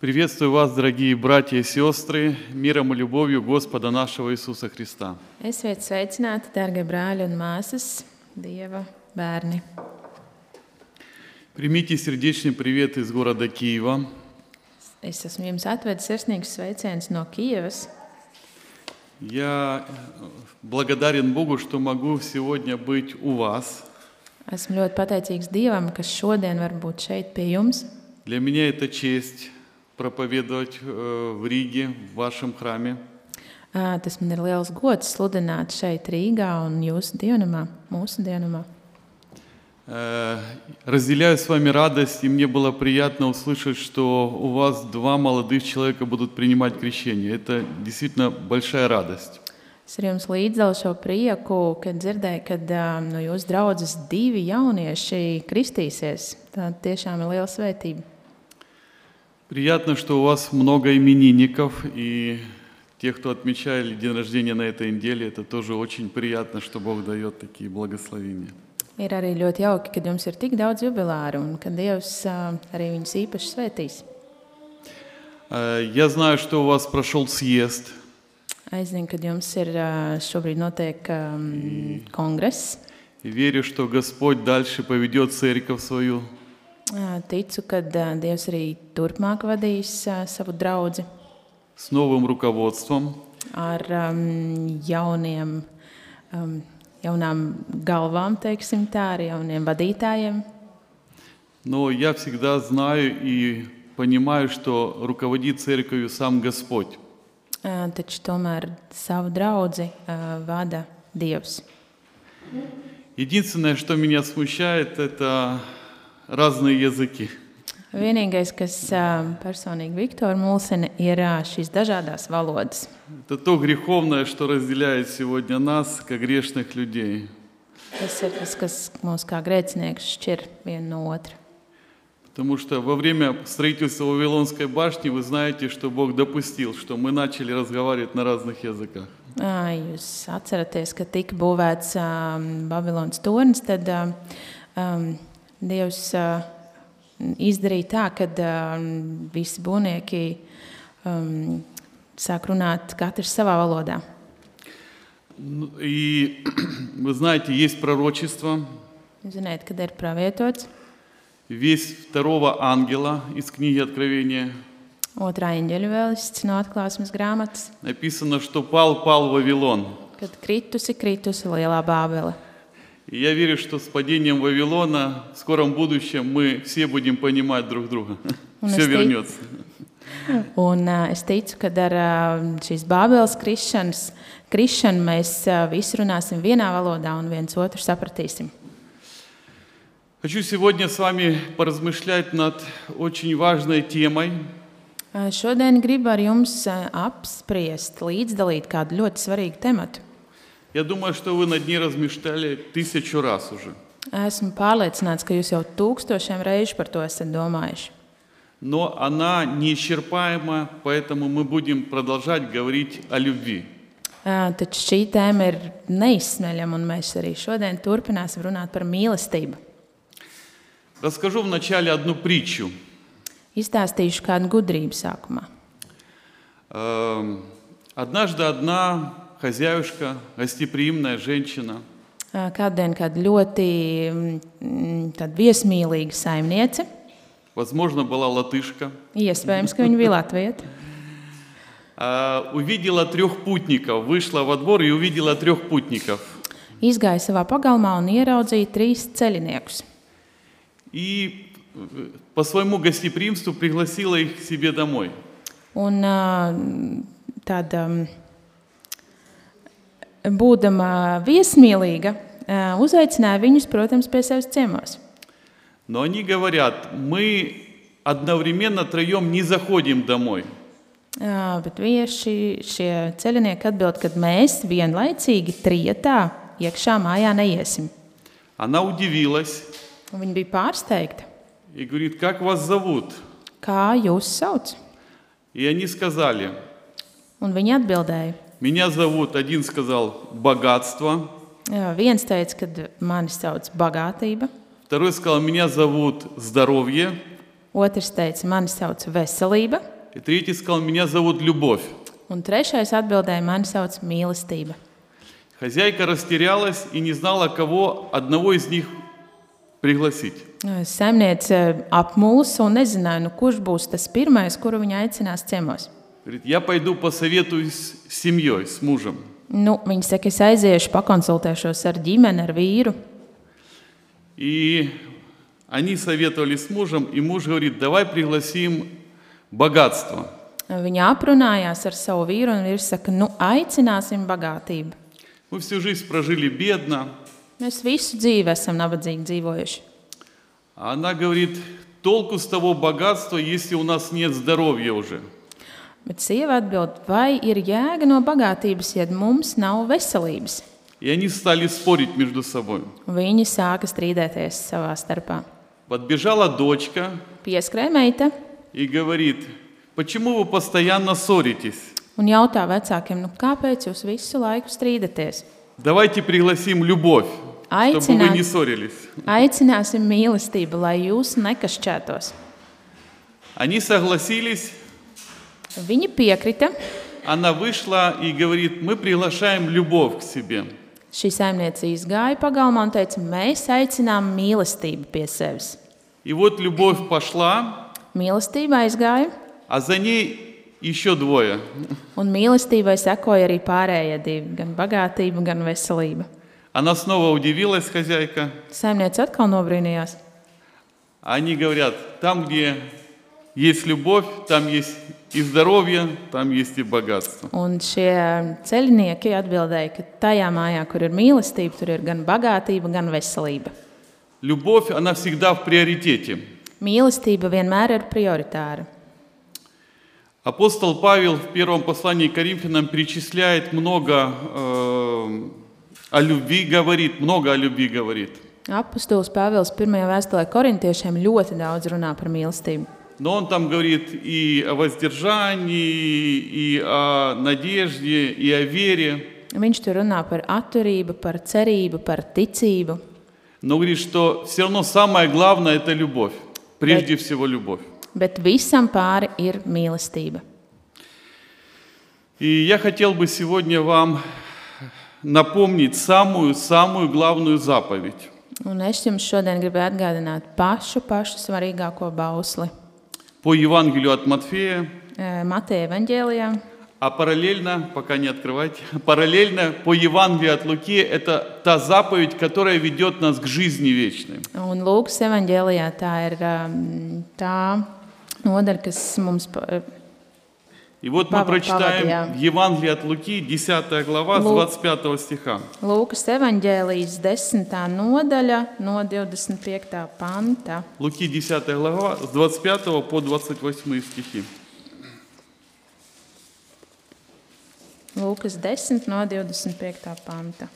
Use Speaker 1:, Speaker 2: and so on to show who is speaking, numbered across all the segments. Speaker 1: Приветствую вас, дорогие братья и сестры, миром и любовью Господа нашего Иисуса Христа.
Speaker 2: Esiet sveicināti, darbie brāļi un māsas, Dieva bērni.
Speaker 1: Примите сердечный привет из города Киева.
Speaker 2: Es esmu jums atvedis sirsnīgus sveicienus no Kijavas.
Speaker 1: Я э, благодарен Богу, что могу сегодня быть у вас.
Speaker 2: Esmu ļoti pateicīgs Dievam, kas šodien var būt šeit pie jums.
Speaker 1: Для меня это честь проповедовать э, в Риге, в вашем храме.
Speaker 2: Ā, Tas man ir liels gods sludināt šeit, Rīgā un jūsu dienamā, mūsu dienamā.
Speaker 1: Э, Разделяю с вами радость, и мне было приятно услышать, что у вас два молодых человека будут принимать крещение. Это действительно большая радость.
Speaker 2: Es ar jums līdzdalīju šo prieku, kad dzirdēju, ka ā, no jūsu draudzes divi jaunieši kristīsies. Tā tiešām ir liela svētība.
Speaker 1: Приятно, что у вас много именинников и тех, кто отмечали день рождения на этой неделе, это тоже очень приятно, что Бог дает такие благословения.
Speaker 2: Ir arī ļoti jauki, kad jums ir tik daudz jubilāru un ka Dievs ā, arī viņus īpaši svētīs.
Speaker 1: Э, Я знаю, что у вас прошел съезд,
Speaker 2: Es zinu, ka jums ir ā, šobrīd notiek um, kongress.
Speaker 1: и верю, что Господь дальше поведет церковь свою.
Speaker 2: Ā, Ticu, ka ā, Dievs arī turpmāk vadīs ā, savu draugu
Speaker 1: с новым руководством.
Speaker 2: ar um, jauniem, um, jaunām galvām, teiksim tā, ar jauniem vadītājiem.
Speaker 1: Но я всегда знаю и понимаю, что руководит церковью сам Господь.
Speaker 2: Ā, Taču tomēr savu draugu vada Dievs.
Speaker 1: Единственное, что меня смущает, это разные языки.
Speaker 2: Vienīgais, kas ā, personīgi Viktoru mulsina, ir ā, šīs dažādas valodas.
Speaker 1: Это то греховное, что разделяет сегодня нас, как грешных людей.
Speaker 2: Tas ir tas, kas mūs kā grēcinieks šķir viena no otras.
Speaker 1: Потому что во время строительства Вавилонской башни вы знаете, что Бог допустил, что мы начали разговаривать на разных языках.
Speaker 2: Ā, Jūs atceraties, ka tika būvēts um, Babilonas tornis, tad ā, um, Dievs ā, izdarīja tā, ka um, visi būvnieki um, sāk runāt katrs savā valodā.
Speaker 1: Ну, И вы знаете, есть пророчество,
Speaker 2: Jūs Ziniet, kad ir pravietots
Speaker 1: весь второго ангела из книги Откровения.
Speaker 2: otrā eņģeļa vēlists no atklāsmes grāmatas,
Speaker 1: Написано, что пал, пал Вавилон.
Speaker 2: kad kritusi, kritusi lielā bābele.
Speaker 1: И я верю, что с падением Вавилона в скором будущем мы все будем понимать друг друга.
Speaker 2: У нас
Speaker 1: Все
Speaker 2: стоит-
Speaker 1: вернется.
Speaker 2: Un, ā, es ticu, ka ar ā, šīs Bābeles krišanas, krišanu mēs ā, visi runāsim vienā valodā un viens otru sapratīsim.
Speaker 1: Хочу сегодня с вами поразмышлять над очень важной темой.
Speaker 2: Ā, Šodien gribu ar jums ā, apspriest, līdzdalīt kādu ļoti svarīgu tematu.
Speaker 1: Я думаю, что вы над ней размышляли тысячу раз уже.
Speaker 2: Esmu pārliecināts, ka jūs jau tūkstošiem reižu par to esat domājuši.
Speaker 1: Но она неисчерпаема, поэтому мы будем продолжать говорить о любви.
Speaker 2: Ā, Taču šī tēma ir neizsmeļama, un mēs arī šodien turpināsim runāt par mīlestību.
Speaker 1: Расскажу вначале одну притчу.
Speaker 2: Izstāstīšu kādu gudrību sākumā.
Speaker 1: Эм, Однажды одна хозяюшка, гостеприимная женщина,
Speaker 2: Ā, Kādu dienu kāda ļoti mm, tāda viesmīlīga saimniece,
Speaker 1: возможно, была латышка,
Speaker 2: iespējams, ka viņa bija Latvija.
Speaker 1: а, увидела трех путников, вышла во двор и увидела трех путников.
Speaker 2: Izgāja savā pagalmā un ieraudzīja trīs ceļniekus.
Speaker 1: И э, по своему гостеприимству пригласила их к себе домой.
Speaker 2: Un, ā, tāda, mm, būdama viesmīlīga, ā, uzaicināja viņus, protams, pie sevis ciemos.
Speaker 1: Но они говорят, мы одновременно троем не заходим домой.
Speaker 2: Ā, Bet vieši šie ceļnieki atbild, ka mēs vienlaicīgi trijotā iekšā mājā neiesim.
Speaker 1: Она удивилась
Speaker 2: Un viņa bija pārsteigta.
Speaker 1: и говорит, как вас зовут?
Speaker 2: Kā jūs saucat?
Speaker 1: И они сказали,
Speaker 2: Un viņi atbildēja.
Speaker 1: меня зовут, один сказал, богатство,
Speaker 2: Jā, Viens teica, ka mani sauc bagātība,
Speaker 1: второй сказал, меня зовут здоровье,
Speaker 2: Otrs teica, mani sauc veselība.
Speaker 1: И третий сказал, меня зовут Любовь.
Speaker 2: Un trešais atbildēja, mani sauc mīlestība.
Speaker 1: Хозяйка растерялась и не знала, кого одного из них пригласить.
Speaker 2: Saimniece apmuļs un nezināja, nu, kurš būs tas pirmais, kuru viņa aicinās ciemos.
Speaker 1: Говорит, я пойду посоветуюсь с семьей, с мужем.
Speaker 2: Nu, viņa saka, es aiziešu, pakonsultēšos ar ģimeni, ar vīru.
Speaker 1: И они советовались с мужем, и муж говорит, давай пригласим богатство.
Speaker 2: Viņa aprunājās ar savu vīru, un viņš saka, nu, aicināsim bagātību.
Speaker 1: Мы всю жизнь прожили бедно,
Speaker 2: Mēs visu dzīvi esam nabadzīgi dzīvojuši.
Speaker 1: а она говорит, толку с того богатства, если у нас нет здоровья уже.
Speaker 2: Bet sieviete atbild, vai ir jēga no bagātības, ja mums nav veselības?
Speaker 1: И они стали спорить между собой.
Speaker 2: Viņi sāka strīdēties savā starpā.
Speaker 1: Подбежала дочка
Speaker 2: Pieskrēja meita
Speaker 1: и говорит, почему вы постоянно ссоритесь?
Speaker 2: un jautā vecākiem, nu, kāpēc jūs visu laiku strīdaties?
Speaker 1: Давайте пригласим любовь, чтобы вы
Speaker 2: Айтина.
Speaker 1: не ссорились.
Speaker 2: Aicināsim mīlestību, lai jūs nekašķētos.
Speaker 1: Они согласились,
Speaker 2: Viņa piekrita.
Speaker 1: она vышла и говорит, мы приглашаем любовь к себе.
Speaker 2: Šī saimniece izgāja pagalmā un teica, mēs aicinām mīlestību pie sevis.
Speaker 1: И вот любовь пошла,
Speaker 2: Mīlestība aizgāja,
Speaker 1: а за ней еще двое.
Speaker 2: un mīlestībai sekoja arī pārējie divi - gan bagātība, gan veselība.
Speaker 1: Она снова удивилась, хозяйка.
Speaker 2: Saimniece atkal nobrīnījās.
Speaker 1: Они говорят, там, где есть любовь, там есть и здоровье, там есть и богатство.
Speaker 2: Un šie ceļnieki atbildēja, ka tajā mājā, kur ir mīlestība, tur ir gan bagātība, gan veselība.
Speaker 1: Любовь, она всегда в приоритете.
Speaker 2: Mīlestība vienmēr ir prioritāra.
Speaker 1: Апостол Павел в первом послании к Коринфянам перечисляет много э, о любви, говорит, много о любви говорит.
Speaker 2: Apostols Pāvils 1. vēstulē korintiešiem ļoti daudz runā par mīlestību.
Speaker 1: Но он там говорит и о воздержании, и о надежде, и о вере.
Speaker 2: Viņš tur runā par atturību, par cerību, par ticību.
Speaker 1: Но говорит, что все равно самое главное – это любовь. Прежде всего любовь.
Speaker 2: Bet visam pāri ir mīlestība.
Speaker 1: И я хотел бы сегодня вам напомнить самую-самую главную заповедь.
Speaker 2: Un es jums šodien gribu atgādināt pašu, pašu svarīgāko bausli
Speaker 1: По Евангелию от Матфея,
Speaker 2: Eh, Mateja Vangelijā.
Speaker 1: А параллельно, пока не открывайте, параллельно по Евангелию от Луки это та заповедь, которая ведет нас к жизни вечной.
Speaker 2: Un Lūkas evanģēlijā tā ir um, tā nodaļa, kas mums pa- eh,
Speaker 1: И вот мы
Speaker 2: Павел,
Speaker 1: прочитаем
Speaker 2: Павел, я-
Speaker 1: Евангелие от Луки, 10 глава, с
Speaker 2: Лу-
Speaker 1: 25 стиха.
Speaker 2: Lūkas evanģēlijas 10. nodaļa no 25. panta.
Speaker 1: Луки, 10 глава, с 25 по 28 стихи.
Speaker 2: Lūkas 10. no 25. panta.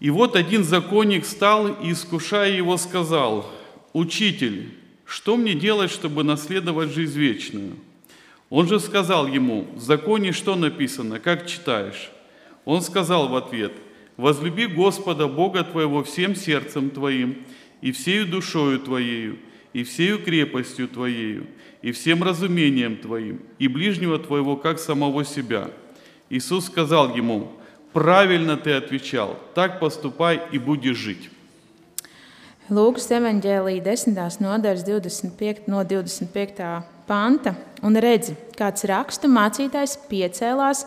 Speaker 1: И вот один законник стал и, искушая его, сказал, «Учитель, что мне делать, чтобы наследовать жизнь вечную?» Он же сказал ему, «В законе что написано, как читаешь?» Он сказал в ответ, «Возлюби Господа Бога твоего всем сердцем твоим, и всею душою твоею, и всею крепостью твоею, и всем разумением твоим, и ближнего твоего, как самого себя». Иисус сказал ему, «Правильно ты отвечал, так поступай и будешь жить».
Speaker 2: Lūkas evanģēlīja 10. nodaļas 25, no 25. panta. Un redzi, kāds rakstur mācītājs piecēlās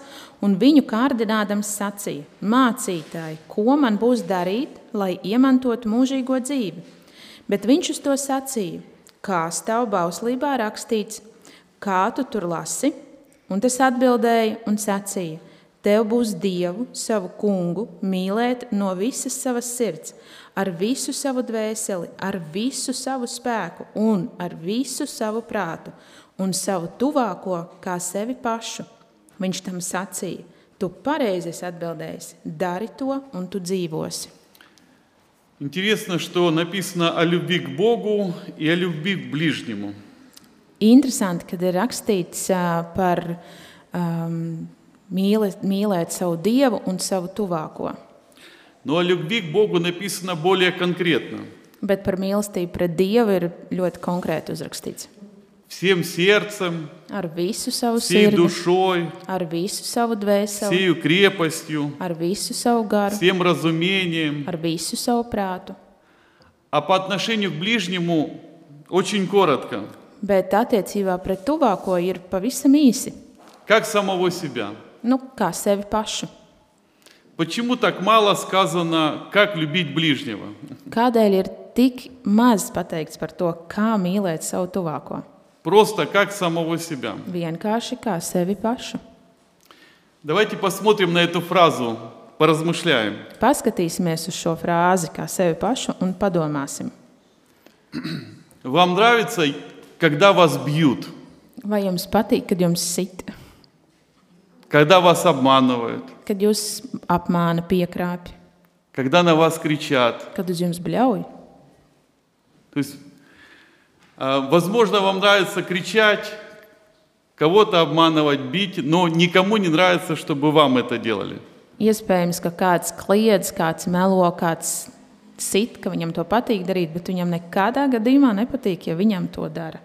Speaker 2: un viņu kārdinādams sacīja: Mācītāji, ko man būs darīt, lai iemantotu mūžīgo dzīvi? Bet viņš uz to sacīja: Kā stāv bauslībā rakstīts, kā tu tur lasi? Un tas atbildēja un sacīja: Tev būs dievu, savu kungu, mīlēt no visas savas sirds, ar visu savu dvēseli, ar visu savu spēku un ar visu savu prātu un savu tuvāko kā sevi pašu. Viņš tam sacīja: Tu pareizi esi atbildējis, dari to un tu dzīvosi.
Speaker 1: Интересно, что написано о любви к Богу и о любви к ближнему.
Speaker 2: Interesanti, kad ir rakstīts ā, par um, mīlēt, mīlēt savu dievu un savu tuvāko.
Speaker 1: Но о любви к Богу написано более конкретно.
Speaker 2: Bet par mīlestību pret Dievu ir ļoti konkrēti uzrakstīts.
Speaker 1: Всем сердцем,
Speaker 2: Ar visu savu
Speaker 1: всей
Speaker 2: sirdi,
Speaker 1: душой,
Speaker 2: ar visu savu dvēseli,
Speaker 1: всею крепостью,
Speaker 2: ar visu savu garu,
Speaker 1: всем разумением.
Speaker 2: ar visu savu prātu.
Speaker 1: А по отношению к ближнему очень коротко.
Speaker 2: Bet attiecībā pret tuvāko ir pavisam īsi.
Speaker 1: Как самого себя.
Speaker 2: Nu, kā sevi pašu.
Speaker 1: Почему так мало сказано, как любить ближнего?
Speaker 2: Kādēļ ir tik maz pateikts par to, kā mīlēt savu tuvāko?
Speaker 1: Просто как самого себя.
Speaker 2: Vienkārši kā sevi pašu.
Speaker 1: Давайте посмотрим на эту фразу, поразмышляем.
Speaker 2: Paskatīsimies uz šo frāzi, kā sevi pašu, un padomāsim,
Speaker 1: Вам нравится, когда вас бьют,
Speaker 2: vai jums patīk, kad jums sit,
Speaker 1: когда вас обманывают,
Speaker 2: kad jūs apmāna piekrāpju,
Speaker 1: когда на вас кричат?
Speaker 2: kad uz jums bļauj.
Speaker 1: То есть, а, возможно, вам нравится кричать, кого-то обманывать, бить, но никому не нравится, чтобы вам это делали.
Speaker 2: Iespējams, ka kāds kliedz, kāds melo, kāds sit, ka viņam to patīk darīt, bet viņam nekādā gadījumā nepatīk, ja viņam to dara.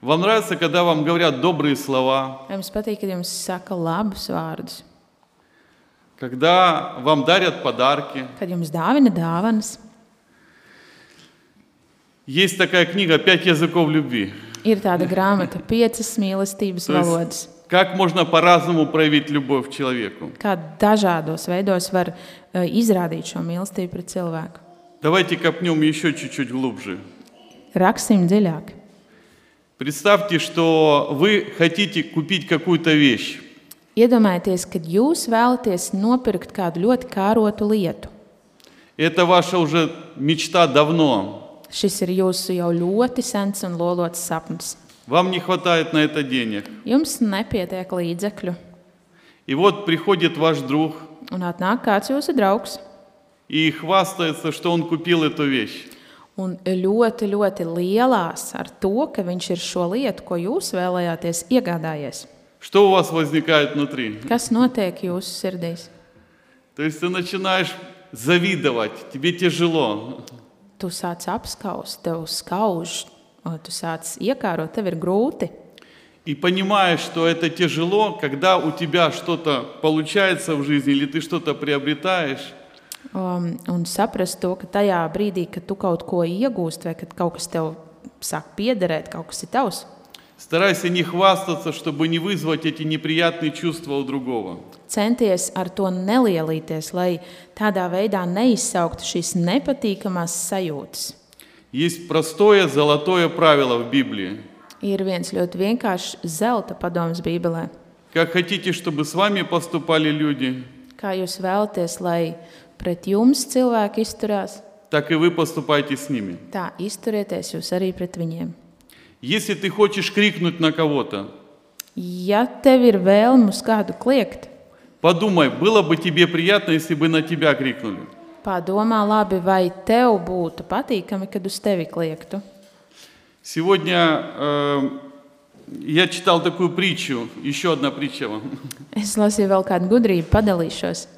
Speaker 1: Вам нравится, когда вам говорят добрые слова,
Speaker 2: Vai jums patīk, kad jums saka labus vārdus,
Speaker 1: когда вам дарят подарки.
Speaker 2: kad jums dāvina dāvanas?
Speaker 1: Есть такая книга «Пять языков любви».
Speaker 2: Ir tāda grāmata, piecas mīlestības
Speaker 1: То есть-
Speaker 2: valodas.
Speaker 1: Как можно по-разному проявить любовь к человеku?
Speaker 2: Kā dažādos veidos var eh, izrādīt šo mīlestību pret cilvēku.
Speaker 1: Давайте копнем еще чуть-чуть глубже.
Speaker 2: Raksim dziļāk.
Speaker 1: Представьте, что вы хотите купить какую-то вещь.
Speaker 2: Iedomājieties, kad jūs vēlaties nopirkt kādu ļoti kārotu lietu.
Speaker 1: Это ваша уже мечта давно.
Speaker 2: Šis ir jūsu jau ļoti sens un lolots sapnis.
Speaker 1: Вам не хватает на это денег.
Speaker 2: Jums nepietiek līdzekļu,
Speaker 1: И вот приходит ваш друг
Speaker 2: un atnāk kāds jūsu draugs
Speaker 1: и хвастается, что он купил эту вещь.
Speaker 2: un ļoti, ļoti lielās ar to, ka viņš ir šo lietu, ko jūs vēlējāties, iegādājies.
Speaker 1: Что у вас возникает внутри?
Speaker 2: Kas notiek jūsu sirdīs?
Speaker 1: То есть ты начинаешь завидовать, тебе тяжело.
Speaker 2: Tu sāc apskaust, tev skauž, o, tu sāc iekārot, tev ir grūti.
Speaker 1: И понимаешь, что это тяжело, когда у тебя что-то получается в жизни или ты что-то priobретаешь.
Speaker 2: Um, un saprast to, ka tajā brīdī, kad tu kaut ko iegūsti, vai kad kaut kas tev sāk piederēt, kaut kas ir tavs,
Speaker 1: Старайся не хвастаться, чтобы не вызвать эти неприятные чувства у другого.
Speaker 2: centies ar to nelielīties, lai tādā veidā neizsauktu šīs nepatīkamās sajūtas.
Speaker 1: Есть простое золотое правило в Библии.
Speaker 2: Ir viens ļoti vienkāršs zelta padoms Bībelē.
Speaker 1: Как хотите, чтобы с вами поступали люди,
Speaker 2: Kā jūs vēlaties, lai pret jums cilvēki izturās,
Speaker 1: так и вы поступайте с ними.
Speaker 2: tā izturieties jūs arī pret viņiem.
Speaker 1: Если ты хочешь крикнуть на кого-то,
Speaker 2: Ja tev ir vēlme uz kādu kliegt,
Speaker 1: подумай, было бы тебе приятно, если бы на тебя крикнули.
Speaker 2: padomā labi, vai tev būtu patīkami, kad uz tevi kliegtu.
Speaker 1: Сегодня э, я читал такую притчу, еще одна притча вам.
Speaker 2: Es lasīju vēl kādu gudrību, padalīšos.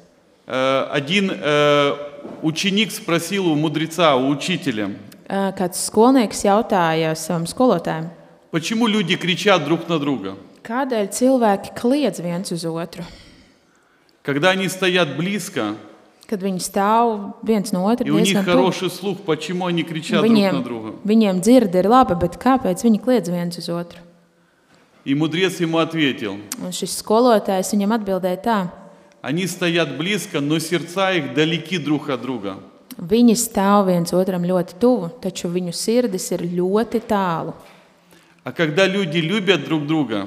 Speaker 1: Э, один э, ученик спросил у мудреца, у учителя,
Speaker 2: Ā, Kāds skolnieks jautāja savam skolotājam,
Speaker 1: почему люди кричат друг на друга,
Speaker 2: kādēļ cilvēki kliedz viens uz otru?
Speaker 1: когда они стоят близко,
Speaker 2: Kad viņi stāv viens no otra,
Speaker 1: и у них
Speaker 2: diezgan tuvu.
Speaker 1: хороший слух, почему они кричат друг
Speaker 2: Viņiem,
Speaker 1: на друга.
Speaker 2: viņiem dzirde ir laba, bet kāpēc viņi kliedz viens uz otru?
Speaker 1: И мудрец ему ответил,
Speaker 2: Un šis skolotājs viņam atbildēja tā,
Speaker 1: они стоят близко, но сердца их далеки друг от друга.
Speaker 2: viņi stāv viens otram ļoti tuvu, taču viņu sirdis ir ļoti tālu.
Speaker 1: А когда люди любят друг друга,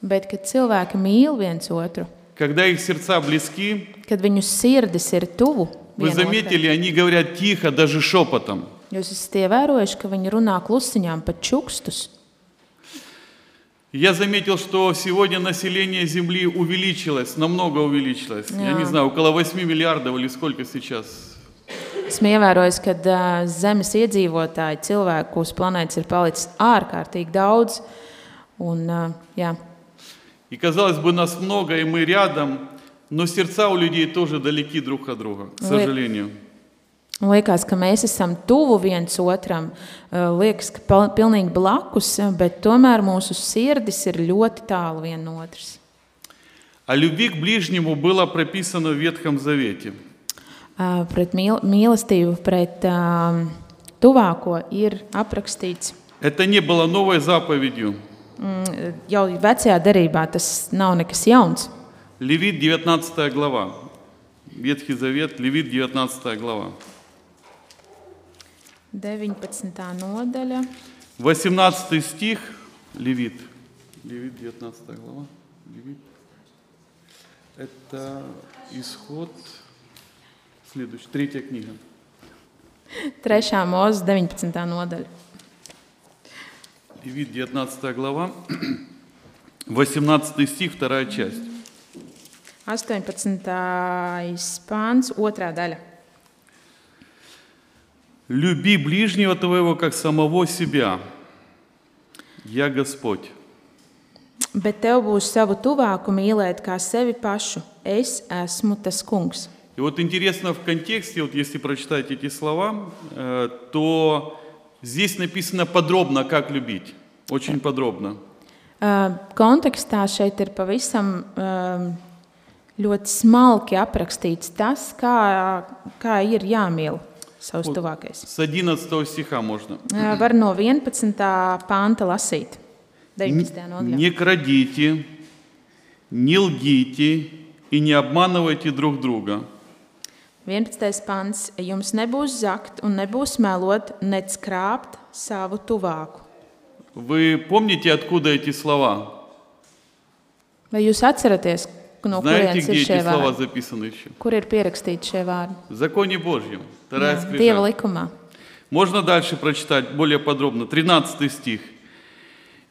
Speaker 2: Bet, kad cilvēki mīl viens otru,
Speaker 1: когда их сердца близки,
Speaker 2: kad viņu sirdis ir tuvu,
Speaker 1: вы
Speaker 2: viena
Speaker 1: заметили, они говорят тихо, даже шепотом.
Speaker 2: otrai, jūs esat ievērojuši, ka viņi runā klusiņām pa čukstus.
Speaker 1: Я заметил, что сегодня население Земли увеличилось, намного увеличилось. Я не
Speaker 2: Да.
Speaker 1: знаю, около 8 миллиардов или сколько сейчас.
Speaker 2: Esmu ievērojis, ka uh, Zemes iedzīvotāji, cilvēku uz planētas ir palicis ārkārtīgi daudz. Un, uh, jā,
Speaker 1: И казалось бы, нас много, и мы рядом, Но сердца у людей тоже далеки друг от друга, к
Speaker 2: Вы-
Speaker 1: сожалению.
Speaker 2: Liekas, ka mēs esam tuvu viens otram, eh, liekas, ka pal- pilnīgi blakus, eh, bet tomēr mūsu sirdis ir ļoti tālu viena no otras.
Speaker 1: О А любви к ближнему было прописано в Ветхом Завете.
Speaker 2: Eh, Pret mīl mīlestību, pret um, tuvāko ir aprakstīts.
Speaker 1: Это не было новой заповедью.
Speaker 2: Mm, Jau vecajā derībā tas nav nekas jauns.
Speaker 1: Левит 19 глава. Ветхий Завет, Левит 19 глава.
Speaker 2: 19. nodaļa.
Speaker 1: 18 стих, Левит. Левит 19 глава. Левит. Это исход, следующая, третья книга.
Speaker 2: 3. mūzes 19. nodaļa.
Speaker 1: Левит 19 глава, 18 стих, вторая часть.
Speaker 2: 18. pāns, 2. daļa.
Speaker 1: Люби ближнего твоего, как самого себя. Я Господь.
Speaker 2: Bet tev būs savu tuvāku mīlēt kā sevi pašu. Es esmu tas kungs.
Speaker 1: И вот интересно в контексте, вот если прочитать эти слова, э, то здесь написано подробно, как любить. Очень подробно.
Speaker 2: Uh, kontekstā šeit ir pavisam um, ļoti smalki aprakstīts tas, kā, kā ir jāmīl savs
Speaker 1: Un-
Speaker 2: tuvākais.
Speaker 1: С 11 stиха можно.
Speaker 2: Uh, var no 11. pānta lasīt.
Speaker 1: Н-
Speaker 2: 19. nodaļā.
Speaker 1: Не крадите, не лгите и не обманывайте друг друга.
Speaker 2: 11. pāns. Jums nebūs zakt un nebūs melot, nec krāpt savu tuvāku.
Speaker 1: Вы помните, откуда эти слова?
Speaker 2: Vai jūs atceraties, no
Speaker 1: Знаете,
Speaker 2: kurienes
Speaker 1: где
Speaker 2: ir šie
Speaker 1: эти слова
Speaker 2: vārdi?
Speaker 1: записаны еще?
Speaker 2: Kur ir pierakstīti šie vārdi?
Speaker 1: В законе Божьем. Вторая
Speaker 2: Jā,
Speaker 1: скрижаль.
Speaker 2: Dieva likumā.
Speaker 1: Можно дальше прочитать более подробно. 13 стих.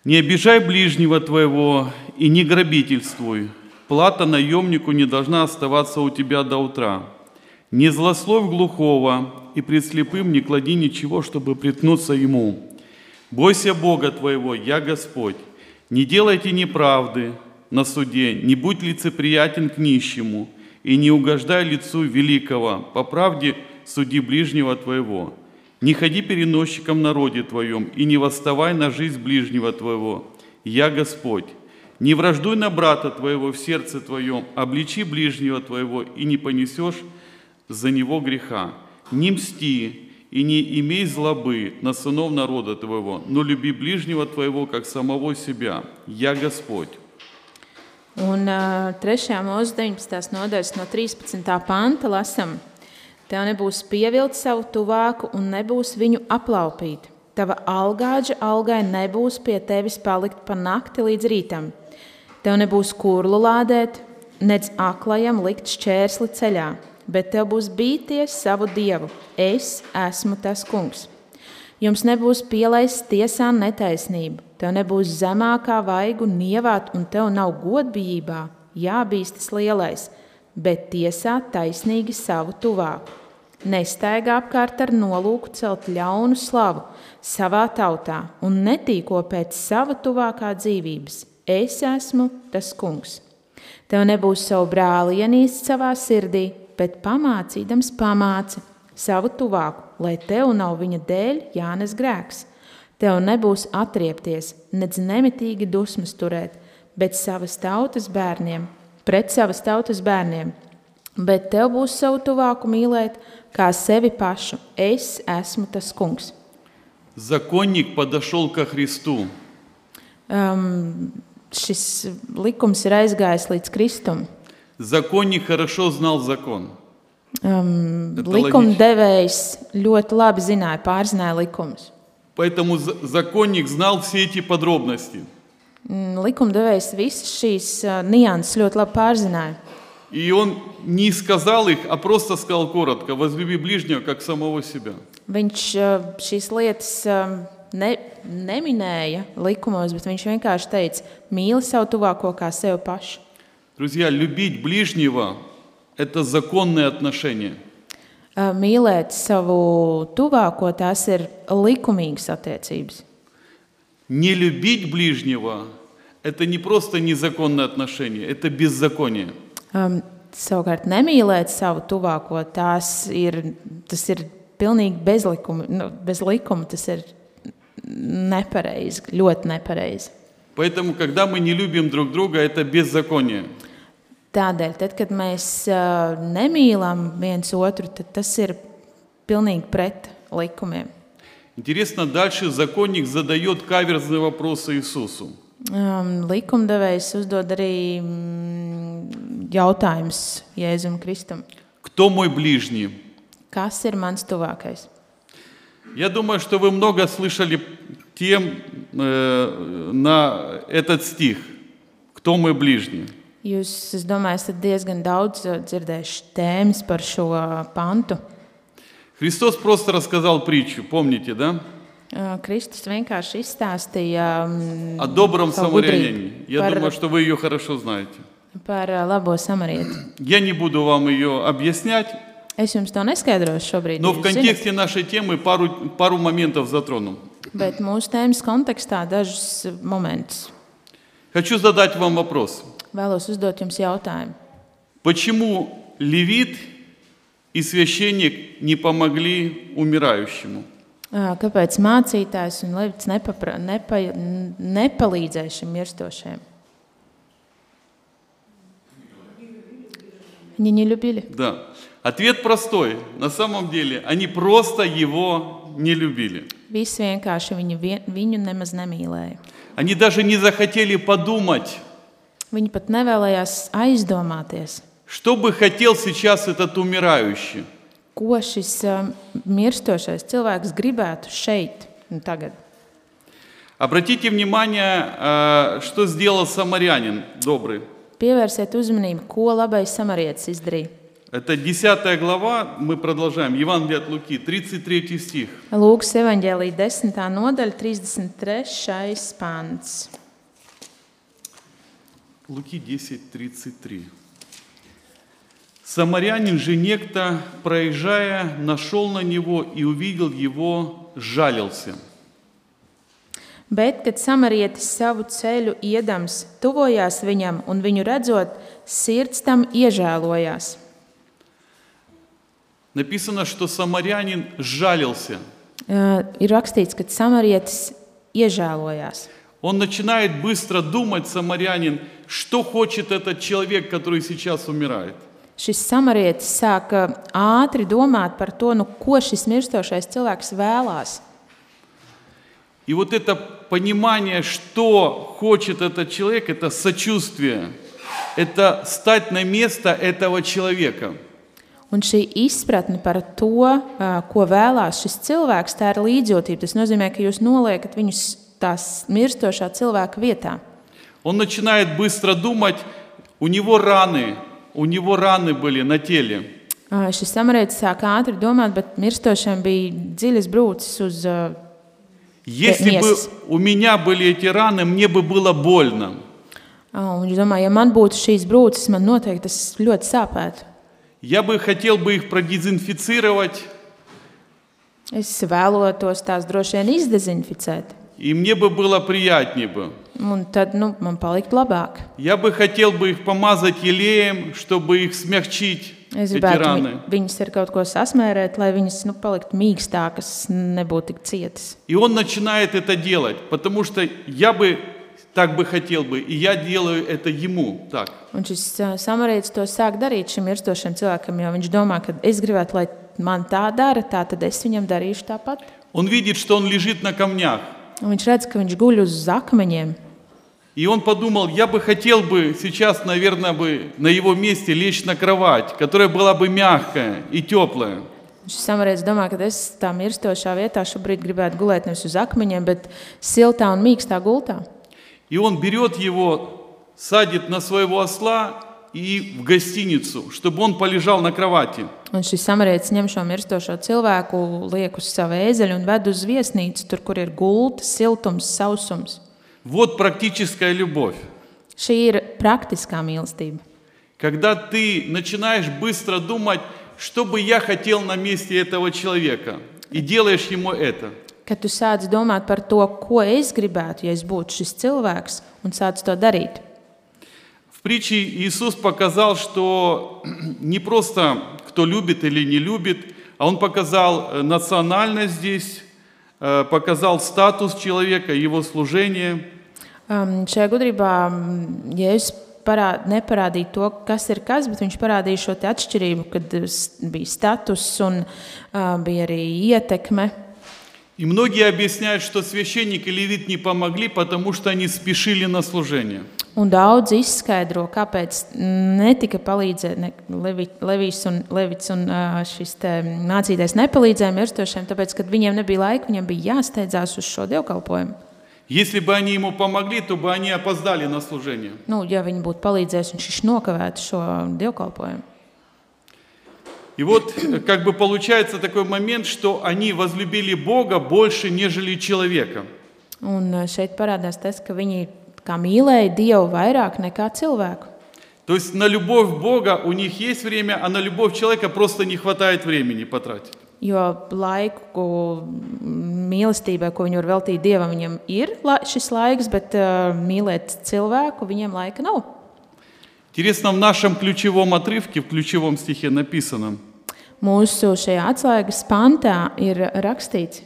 Speaker 1: «Не обижай ближнего твоего и не грабительствуй. Плата наемнику не должна оставаться у тебя до утра. Не злословь глухого и пред слепым не клади ничего, чтобы притнуться ему. Бойся Бога твоего, я Господь. Не делайте неправды на суде, не будь лицеприятен к нищему, и не угождай лицу великого, по правде суди ближнего твоего. Не ходи переносчиком в народе твоем, и не восставай на жизнь ближнего твоего, я Господь. Не враждуй на брата твоего в сердце твоем, обличи ближнего твоего, и не понесешь за него греха. Не мсти и не имей злобы на сынов народа твоего, но люби ближнего твоего, как самого себя. Я Господь.
Speaker 2: Un uh, 3. mūzika 19. nodaļas no 13. panta lasām: Tev nebūs pievilkt savu tuvāku un nebūs viņu aplaupīt. Tava algāģa algai nebūs pie tevis palikt pa nakti līdz rītam. Tev nebūs kurlu lādēt, nec aklajam likt šķērsli ceļā, bet tev būs bīties savu dievu. Es esmu tas kungs. Jums nebūs pielaists tiesā netaisnība, tev nebūs zemākā vaigu nievāt, un tev nav godbijībā jābīstas lielais, bet tiesā taisnīgi savu tuvāku. Nestaigā apkārt ar nolūku celt ļaunu slavu savā tautā un netīko pēc sava tuvākā dzīvības. Es esmu tas kungs. Tev nebūs savu brāli ienīst savā sirdī, bet pamācīdams pamāci savu tuvāku, lai tev nav viņa dēļ jānes grēks. Tev nebūs atriepties, nedz nemitīgi dusmas turēt, bet savas tautas bērniem, pret savas tautas bērniem. Bet tev būs savu tuvāku mīlēt kā sevi pašu. Es esmu tas kungs.
Speaker 1: Законник подошел ко Христу.
Speaker 2: Um, šis likums ir aizgājis līdz kristumam.
Speaker 1: Законник хорошо знал закон.
Speaker 2: Um,
Speaker 1: Bet tā
Speaker 2: likumdevējs ļoti labi zināja, pārzināja likumus.
Speaker 1: Поэтому за- законник знал все эти подробности.
Speaker 2: Mm, Likumdevējs visas šīs ā, nianses ļoti labi pārzināja.
Speaker 1: И он не сказал их, а просто сказал коротко, возлюби ближнего, как самого себя.
Speaker 2: Viņš ā, šīs lietas ā, ne, neminēja likumos, bet viņš vienkārši teica, mīli savu tuvāko kā sevi pašu.
Speaker 1: Друзья, любить ближнего – это законные отношения.
Speaker 2: Ā, Uh, Mīlēt savu tuvāko, tās ir likumīgas attiecības.
Speaker 1: Не любить ближнего – это не просто незаконное отношение, это беззаконие.
Speaker 2: Um, savukārt nemīlēt savu tuvāko, tās ir, tas ir pilnīgi bez likuma. Nu, bez likuma tas ir nepareizi, ļoti nepareizi.
Speaker 1: Поэтому, когда мы не любим друг друга, это беззаконие.
Speaker 2: Tādēļ, tad, kad mēs ā, nemīlam viens otru, tad tas ir pilnīgi pret likumiem.
Speaker 1: Интересно, дальше законник задает каверзные вопросы Иисусу.
Speaker 2: Um, likumdevējs uzdod arī mm, jautājumus Jēzum Kristum.
Speaker 1: Кто мой ближний?
Speaker 2: Kas ir mans tuvākais?
Speaker 1: Я думаю, что вы много слышали тем э, на этот стих. Кто мой ближний?
Speaker 2: Jūs, es domāju, esat diezgan daudz ā, dzirdējuši tēmas par šo ā, pantu.
Speaker 1: Христос просто рассказал притчу, помните, да?
Speaker 2: Ā, Uh, Kristus vienkārši izstāstīja mm,
Speaker 1: О добром
Speaker 2: savu gudrību
Speaker 1: самарянине. Я
Speaker 2: par,
Speaker 1: думаю, что вы ее хорошо знаете.
Speaker 2: par ā, labo samarieti.
Speaker 1: Я не буду вам ее объяснять,
Speaker 2: Es jums to neskaidrošu šobrīd.
Speaker 1: но в
Speaker 2: jūs zinat.
Speaker 1: контексте нашей темы пару, пару моментов затрону.
Speaker 2: Bet mūsu tēmas kontekstā dažus uh, momentus
Speaker 1: Хочу задать вам вопрос.
Speaker 2: vēlos uzdot jums jautājumu.
Speaker 1: Почему левит и священник не помогли умирающему?
Speaker 2: Ā, Uh, Kāpēc mācītājs un Levits nepapra- nepa, n- nepalīdzēja šim mirstošajam? Viņi не любили.
Speaker 1: Да. Ответ простой. На самом деле они просто его не любили.
Speaker 2: Visi vienkārši viņu, vien- viņu nemaz nemīlēja.
Speaker 1: Они даже не захотели подумать,
Speaker 2: Viņi pat nevēlējās aizdomāties,
Speaker 1: что бы хотел сейчас этот умирающий.
Speaker 2: ko šis ā, mirstošais cilvēks gribētu šeit un tagad.
Speaker 1: Обратите внимание, э, что сделал самарянин добрый.
Speaker 2: Pievērsiet uzmanību, ko labais samarietis izdarīja.
Speaker 1: Это 10 глава, мы продолжаем, Евангелие от Луки, 33 стих.
Speaker 2: Lūks evanģēlīja 10. nodaļa, 33. pāns.
Speaker 1: Луки 10:33. Самарянин же некто, проезжая, нашел на него и увидел его, жалился.
Speaker 2: Bet, kad samarietis savu ceļu iedams, tuvojās viņam un viņu redzot, sirds tam iežēlojās.
Speaker 1: Написано, что самарянин жалился.
Speaker 2: Uh, ir rakstīts, ka samarietis iežēlojās.
Speaker 1: Он начинает быстро думать, самарянин, что хочет этот человек, который сейчас умирает.
Speaker 2: Šis samarietis sāka ātri domāt par to, nu, ko šis mirstošais cilvēks vēlās.
Speaker 1: И вот это понимание, что хочет этот человек, это сочувствие, это стать на место этого человека.
Speaker 2: Un šī izpratne par to, ā, ko vēlās šis cilvēks, tā ir līdzjūtība. Tas nozīmē, ka jūs noliekat viņus tās mirstošā cilvēka vietā.
Speaker 1: Он начинает быстро думать, у него раны, у него раны были на теле.
Speaker 2: Ā, Šis samarietis sāk ātri domāt, bet mirstošiem bija dziļas brūces uz. ā,
Speaker 1: Если бы
Speaker 2: Месяц.
Speaker 1: у меня были эти раны, мне бы было больно.
Speaker 2: ā, un Viņš domāja, ja man būtu šīs brūces, man noteikti tas ļoti sāpētu.
Speaker 1: Я бы хотел бы их продезинфицировать,
Speaker 2: Es vēlētos tās droši vien izdezinficēt,
Speaker 1: и мне бы было приятнее бы.
Speaker 2: un tad nu, man paliktu labāk.
Speaker 1: Я бы хотел бы их помазать елеем, чтобы их смягчить,
Speaker 2: Es
Speaker 1: эти
Speaker 2: gribētu
Speaker 1: раны.
Speaker 2: vi- viņas ar kaut ko sasmērēt, lai viņas nu, paliktu mīkstākas, nebūtu tik cietas.
Speaker 1: И он начинает это делать, потому что я бы так бы хотел бы, и я делаю это ему так.
Speaker 2: Un šis ā, samarietis to sāk darīt šim mirstošam cilvēkam, jo viņš domā, ka es gribētu, lai man tā dara, tā tad es viņam darīšu tāpat.
Speaker 1: Он видит, что он лежит на камнях,
Speaker 2: Un viņš redz, ka viņš guļ uz akmeņiem.
Speaker 1: и он подумал, я бы хотел бы сейчас, наверное, бы на его месте лечь на кровать, которая была бы мягкая и теплая.
Speaker 2: Viņš samarēdz domā, ka es tā mirstošā vietā šobrīd gribētu gulēt nevis uz akmeņiem, bet siltā un mīkstā gultā.
Speaker 1: И он берет его, садит на своего осла и в гостиницу, чтобы он полежал на кровати.
Speaker 2: Un šis samarēdz ņem šo mirstošo cilvēku, liek uz savu ēzeļu un ved uz viesnīcu, tur, kur ir gulta, siltums, sausums.
Speaker 1: Вот практическая любовь.
Speaker 2: Šī ir praktiskā mīlestība.
Speaker 1: Когда ты начинаешь быстро думать, что бы я хотел на месте этого человека, и делаешь ему это.
Speaker 2: Kad tu sāc domāt par to, ko es gribētu, ja es būtu šis cilvēks, un sāc to darīt.
Speaker 1: В В притче Иисус показал, что не просто кто любит или не любит, а Он показал национальность здесь, э, показал статус человека, его служение.
Speaker 2: Um, šajā gudrībā mm, Jēzus parād, neparādīja to, kas ir kas, bet viņš parādīja šo te atšķirību, kad s- bija status un uh, bija arī ietekme.
Speaker 1: И многие объясняют, что священник и левит не помогли, потому что они спешили на служение.
Speaker 2: Un daudz izskaidro, kāpēc netika palīdzēt ne, Levi, Levijs un, Levits un ā, šis te mācītais nepalīdzēja mirstošiem, tāpēc, ka viņiem nebija laika, viņiem bija jāsteidzās uz šo dievkalpojumu.
Speaker 1: Если бы они ему помогли, то бы они опоздали на служение.
Speaker 2: Nu, ja viņi būtu palīdzējuši, viņš nokavētu šo dievkalpojumu.
Speaker 1: И вот э, как бы получается такой момент, что они возлюбили Бога больше, нежели человека.
Speaker 2: Un ā, šeit parādās tas, ka viņi kā mīlēja Dievu vairāk nekā cilvēku.
Speaker 1: То есть на любовь Бога у них есть время, а на любовь человека просто не хватает времени потратить.
Speaker 2: Jo laiku ko, mm, mīlestībai, ko viņi var veltīt dievam, viņam ir la šis laiks, bet uh, mīlēt cilvēku viņiem laika nav.
Speaker 1: Интересно, в нашем ключевом отрывке, в ключевом стихе написано,
Speaker 2: Mūsu šajā atslēgas pantā ir rakstīts,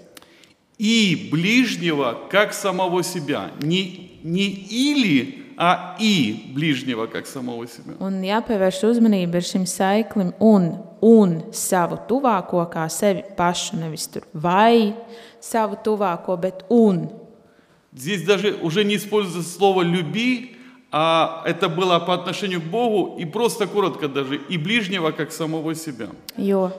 Speaker 1: и ближнего как самого себя. Не, не или, а и ближнего как самого себя.
Speaker 2: un jāpievērš uzmanība ir šim saiklim un, un savu tuvāko kā sevi pašu, nevis tur vai savu tuvāko, bet un.
Speaker 1: Здесь даже уже не используется слово «люби», а это было по отношению к Богу, и просто коротко даже, и ближнего, как самого себя.
Speaker 2: Jo,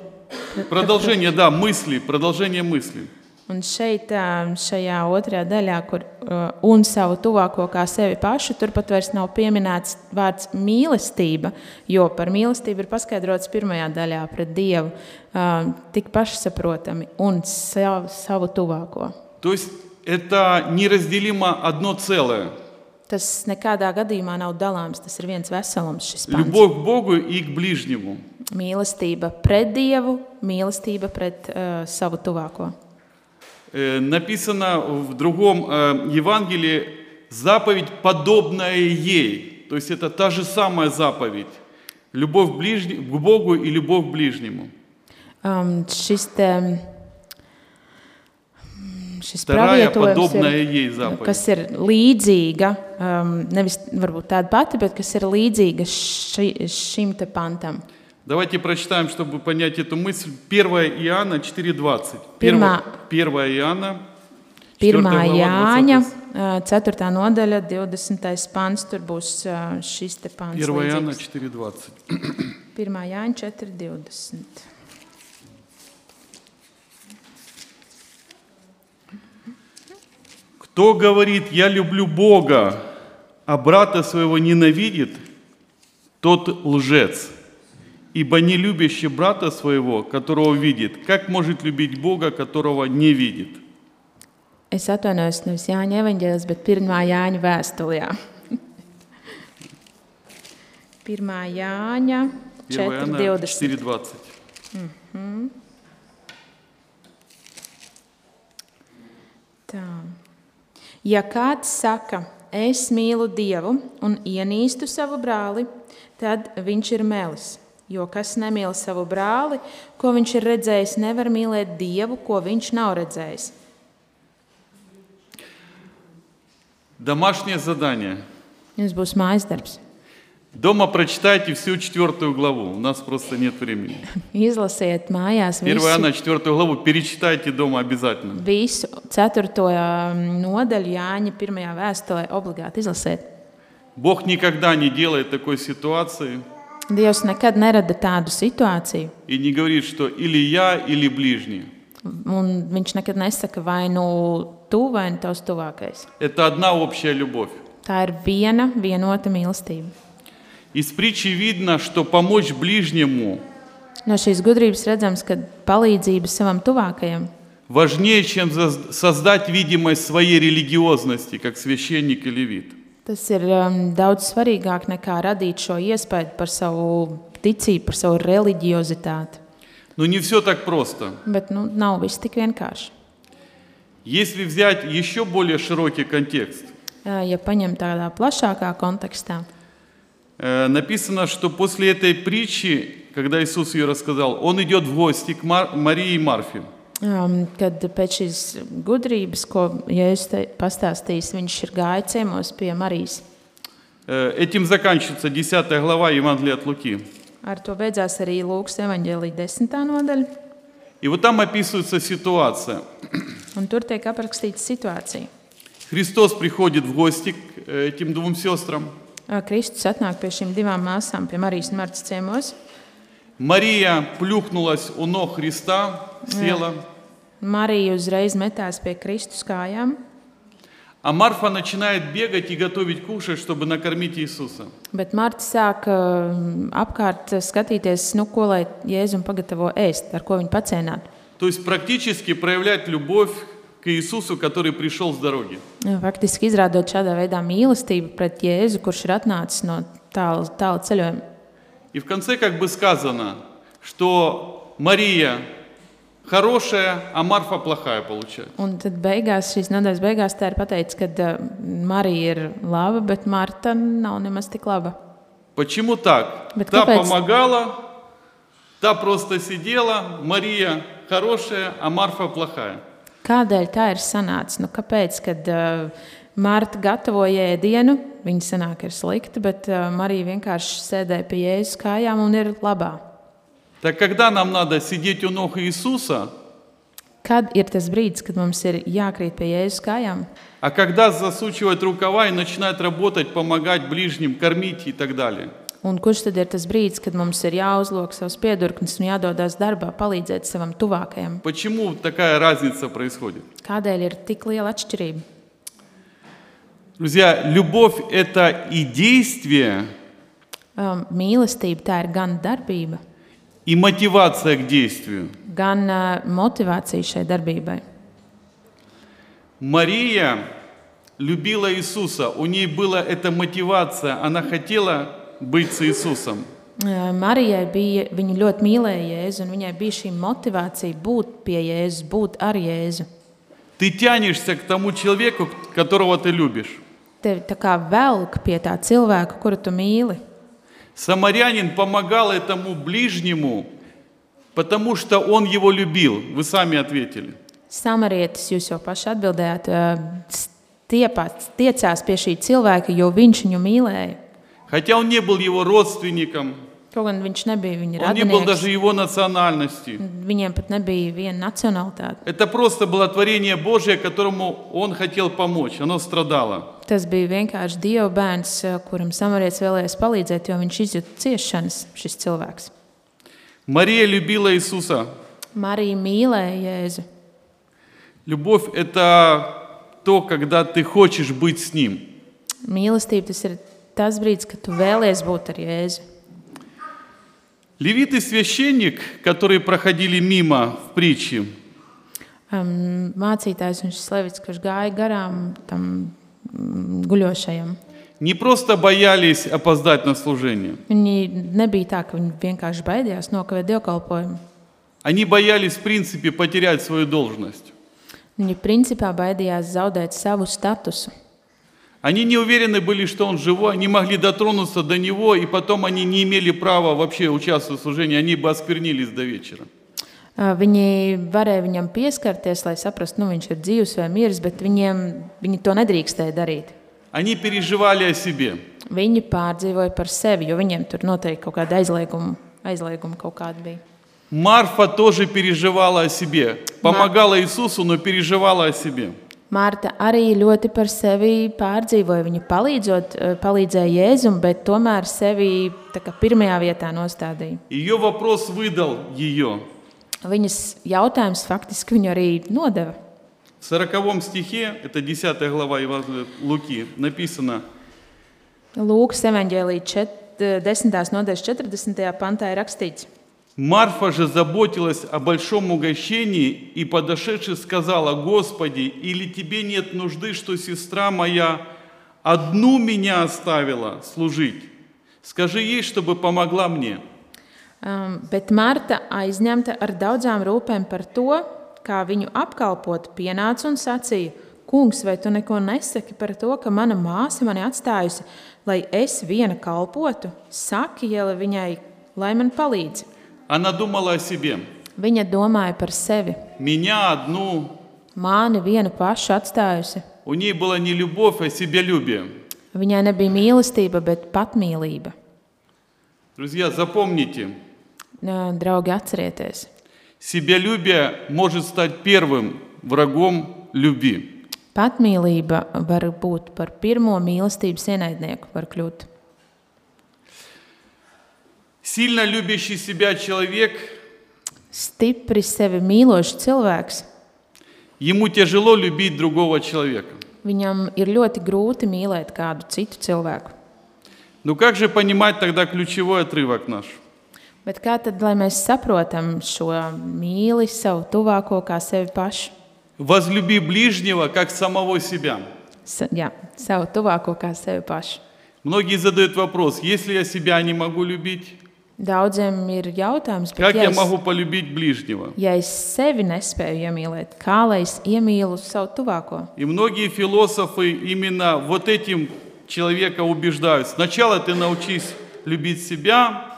Speaker 1: Продолжение, да, мысли, продолжение мысли.
Speaker 2: Un šeit, ā, šajā otrajā daļā, kur ā, un savu tuvāko kā sevi pašu, turpat vairs nav pieminēts vārds mīlestība, jo par mīlestību ir paskaidrots pirmajā daļā pret Dievu ā, tik pašsaprotami un savu, savu tuvāko.
Speaker 1: То есть это неразделимо одно целое.
Speaker 2: Tas nekādā gadījumā nav dalāms, tas ir viens veselums, šis pants.
Speaker 1: Любовь к Богу и к ближнему.
Speaker 2: Mīlestība pret Dievu, mīlestība pret uh, savu tuvāko.
Speaker 1: Э, Написано в другом э, Евангелии заповедь, подобная ей. То есть это та же самая заповедь. Любовь к ближне- к Богу и любовь к ближнему.
Speaker 2: Um, šis te, mm, šis
Speaker 1: Вторая
Speaker 2: pravietojums ir-
Speaker 1: подобная ей заповедь.
Speaker 2: kas ir līdzīga, um, nevis varbūt tāda pati, bet kas ir līdzīga ši, šim te pantam.
Speaker 1: Давайте прочитаем, чтобы понять эту мысль. 1 Иоанна 4.20.
Speaker 2: Pirmā-
Speaker 1: 1 Иоанна. 4
Speaker 2: 1.
Speaker 1: глава,
Speaker 2: Jāņa,
Speaker 1: 20.
Speaker 2: uh, 4. nodaļa, 20. pants. Tur būs uh, šis te pants.
Speaker 1: 1 Иоанна
Speaker 2: 1.
Speaker 1: 4.20.
Speaker 2: Jāņa 4. 20.
Speaker 1: Кто говорит, я люблю Бога, а брата своего ненавидит, тот лжец. Ибо не любящий брата своего, которого видит, как может любить Бога, которого не видит?
Speaker 2: Es atvainojos, nevis Jāņa evanģēlis, bet 1. Jāņa vēstulijā. 1. Jāņa
Speaker 1: 1 Иоанна
Speaker 2: 4. 20.
Speaker 1: 4.20.
Speaker 2: Tā. Ja kāds saka, es mīlu Dievu un ienīstu savu brāli, tad viņš ir melis. Jo kas nemīl savu brāli, ko viņš ir redzējis, nevar mīlēt Dievu, ko viņš nav redzējis.
Speaker 1: Домашнее задание.
Speaker 2: Jums būs mājas darbs.
Speaker 1: Дома прочитайте всю четвертую главу. У нас просто нет времени.
Speaker 2: Izlasiet mājās
Speaker 1: 1
Speaker 2: visu,
Speaker 1: Иоанна 4 главу перечитайте дома обязательно.
Speaker 2: visu 4. nodaļu Jāņa 1. vēstulē obligāti izlasiet.
Speaker 1: Бог никогда не делает такой ситуации
Speaker 2: Dievs nekad nerada tādu situāciju,
Speaker 1: и не говорит, что или я, или ближний.
Speaker 2: un viņš nekad nesaka, vai nu tu vai nu tavs tuvākais.
Speaker 1: Это одна общая любовь.
Speaker 2: Tā ir viena vienota mīlestība.
Speaker 1: Из притчи видно, что помочь ближнему
Speaker 2: No šīs gudrības redzams, ka palīdzība savam tuvākajam
Speaker 1: важнее, чем заз- создать видимость своей религиозности, как священник и левит.
Speaker 2: tas ir um, daudz svarīgāk nekā radīt šo iespēju par savu ticību, par savu reliģiozitāti.
Speaker 1: Но не все так просто.
Speaker 2: Bet nu, nav viss tik vienkārši.
Speaker 1: Если взять еще более широкий контекст,
Speaker 2: Ā, Ja paņem tādā plašākā kontekstā,
Speaker 1: э, написано, что после этой притчи, когда Иисус ее рассказал, он идет в гости к Мар- Марии и Марфе.
Speaker 2: Um, kad pēc šīs gudrības, ko Jēzus pastāstīs, viņš ir gājis ciemos pie Marijas.
Speaker 1: Э, Этим заканчивается 10 глава Евангелия от Луки.
Speaker 2: Ar to beidzās arī Lūks evanģēlīja desmitā nodaļa,
Speaker 1: И вот там описывается ситуация.
Speaker 2: un tur tiek aprakstīta situācija.
Speaker 1: Христос приходит в гости к э, этим двум сестрам.
Speaker 2: Ā, Kristus atnāk pie šīm divām māsām, pie Marijas un Martas ciemos.
Speaker 1: Мария плюхнулась у ног Христа, села.
Speaker 2: Marija uzreiz metās pie Kristus kājām,
Speaker 1: А Марфа начинает бегать и готовить кушать, чтобы накормить Иисуса.
Speaker 2: bet Marta sāk um, apkārt skatīties, nu, ko lai Jēzum pagatavo ēst, ar ko viņu pacēnāt.
Speaker 1: То есть практически проявлять любовь к Иисусу, который пришел с дороги.
Speaker 2: Faktiski izrādot šādā veidā mīlestību pret Jēzu, kurš ir atnācis no tāla, tāla ceļojuma.
Speaker 1: И в конце как бы сказано, что Мария хорошая, а Марфа плохая получается.
Speaker 2: Un tad beigās, šīs nodaļas beigās, tā ir pateikts, ka ā, Marija ir laba, bet Marta nav nemaz tik laba.
Speaker 1: Почему так?
Speaker 2: Bet
Speaker 1: та
Speaker 2: kāpēc?
Speaker 1: помогала, та просто сидела, Мария хорошая, а Марфа плохая.
Speaker 2: Kādēļ tā ir sanācis? Nu, kāpēc, kad uh, Marta gatavoja ēdienu, viņa sanāk ir slikta, bet uh, Marija vienkārši sēdēja pie Jēzus kājām un ir labā.
Speaker 1: Так когда нам надо сидеть у ног Иисуса,
Speaker 2: Kad ir tas brīdis, kad mums ir jākrīt pie Jēzus kājām?
Speaker 1: а когда засучивать рукава и начинать работать, помогать ближним, кормить и так далее?
Speaker 2: Un kurš tad ir tas brīdis, kad mums ir jāuzlūko savs piedurknis un jādodas darbā, palīdzēt savam tuvākajam?
Speaker 1: Почему такая разница происходит?
Speaker 2: Kādēļ ir tik liela atšķirība?
Speaker 1: Друзья, любовь – это и действие,
Speaker 2: Um, mīlestība tā ir gan darbība,
Speaker 1: и мотивация к действию.
Speaker 2: gan uh, motivācija šai darbībai.
Speaker 1: Мария любила Иисуса, у ней была эта мотивация, она хотела быть с Иисусом.
Speaker 2: Uh, Marijai bija, viņa ļoti mīlēja Jēzu, un viņai bija šī motivācija būt pie Jēzus, būt ar Jēzu.
Speaker 1: Ты тянешься к тому человеку, которого ты любишь.
Speaker 2: Tevi tā kā velk pie tā cilvēka, kuru tu mīli.
Speaker 1: Самарянин помогал этому ближнему, потому что он его любил. Вы сами ответили.
Speaker 2: Samarietis, jūs jau paši atbildējāt, uh, stiepās, tiecās pie šī cilvēka, jo viņš viņu mīlēja.
Speaker 1: Хотя он не был его родственником,
Speaker 2: Kaut gan viņš nebija viņa
Speaker 1: он не был
Speaker 2: radinieks,
Speaker 1: даже его национальности.
Speaker 2: viņiem pat nebija viena nacionālitāte.
Speaker 1: Это просто было творение Божье, которому он хотел помочь. Оно страдало.
Speaker 2: Tas bija vienkārši Dieva bērns, eh, kuram samarietis vēlējās palīdzēt, jo viņš izjūta ciešanas, šis cilvēks.
Speaker 1: Мария любила Иисуса.
Speaker 2: Marija mīlēja Jēzu.
Speaker 1: Любовь – это то, когда ты хочешь быть с Ним.
Speaker 2: Mīlestība tas ir tas brīdis, kad tu vēlies būt ar Jēzu.
Speaker 1: Левит и священник, которые проходили мимо в притче,
Speaker 2: Um, mācītājs un šis levis, kurš gāja garām tam mm, guļošajam,
Speaker 1: не просто боялись опоздать на служение,
Speaker 2: viņi nebija tā, ka viņi vienkārši baidījās nokavēt dievkalpojumu.
Speaker 1: они боялись, в принципе, потерять свою должность.
Speaker 2: Viņi principā baidījās zaudēt savu statusu.
Speaker 1: Они не уверены были, что он живой, они могли дотронуться до него, и потом они не имели права вообще участвовать в служении, они бы осквернились до вечера.
Speaker 2: Uh, Viņi varēja viņam pieskarties, lai saprastu, nu, viņš ir dzīves vai miris, bet viņiem, viņi to nedrīkstēja darīt.
Speaker 1: Они переживали о себе.
Speaker 2: Viņi pārdzīvoja par sevi, jo viņiem tur noteikti kaut kāda aizlieguma, aizlieguma kaut kāda bija.
Speaker 1: Марфа тоже переживала о себе. Помогала Иисусу, но переживала о себе.
Speaker 2: Mārta arī ļoti par sevi pārdzīvoja. Viņa palīdzot, eh, palīdzēja Jēzum, bet tomēr sevi tā kā pirmajā vietā nostādīja.
Speaker 1: Ее вопрос выдал ее.
Speaker 2: Viņas jautājums faktiski viņu arī nodeva.
Speaker 1: В 40 стихе, это 10 глава Евангелия от Луки, написано,
Speaker 2: Lūkas evanģēlī 10. nodaļas 40. pantā ir rakstīts.
Speaker 1: Марфа же заботилась о большом угощении и, подошедши, сказала, «Господи, или тебе нет нужды, что сестра моя одну меня оставила служить? Скажи ей, чтобы помогла мне».
Speaker 2: Um, bet Marta, aizņemta ar daudzām rūpēm par to, kā viņu apkalpot, pienāca un sacīja: Kungs, vai tu neko nesaki par to, ka mana māsa mani atstājusi, lai es viena kalpotu? Saki, Jēle, viņai, lai man palīdz.
Speaker 1: Она думала о себе.
Speaker 2: Viņa domāja par sevi.
Speaker 1: Меня одну.
Speaker 2: Māni viena paša atstājusi.
Speaker 1: У ней была не любовь, а себялюбие.
Speaker 2: Viņai nebija mīlestība, bet patmīlība.
Speaker 1: Друзья, запомните,
Speaker 2: Nā, Draugi, atcerieties,
Speaker 1: себялюбие может стать первым vрагом любви.
Speaker 2: patmīlība var būt par pirmo mīlestības ienaidnieku, var kļūt.
Speaker 1: Сильно любящий себя человек,
Speaker 2: Stipri sevi mīlošs cilvēks,
Speaker 1: ему тяжело любить другого человека.
Speaker 2: viņam ir ļoti grūti mīlēt kādu citu cilvēku.
Speaker 1: Ну как же понимать тогда ключевой отрывок наш?
Speaker 2: Bet kā tad, lai mēs saprotam šo mīlestību, savu tuvāko kā sevi pašu?
Speaker 1: Возлюби ближнего, как самого себя.
Speaker 2: Sa, jā, savu tuvāko kā sevi pašu.
Speaker 1: Многие задают вопрос, если я себя не могу любить,
Speaker 2: Daudziem ir jautājums,
Speaker 1: как
Speaker 2: bet,
Speaker 1: я
Speaker 2: ja, es,
Speaker 1: могу полюбить ближнего?
Speaker 2: ja es sevi nespēju iemīlēt, kā lai es iemīlu savu tuvāko?
Speaker 1: И многие философы именно вот этим человека убеждают. Сначала ты научись любить себя,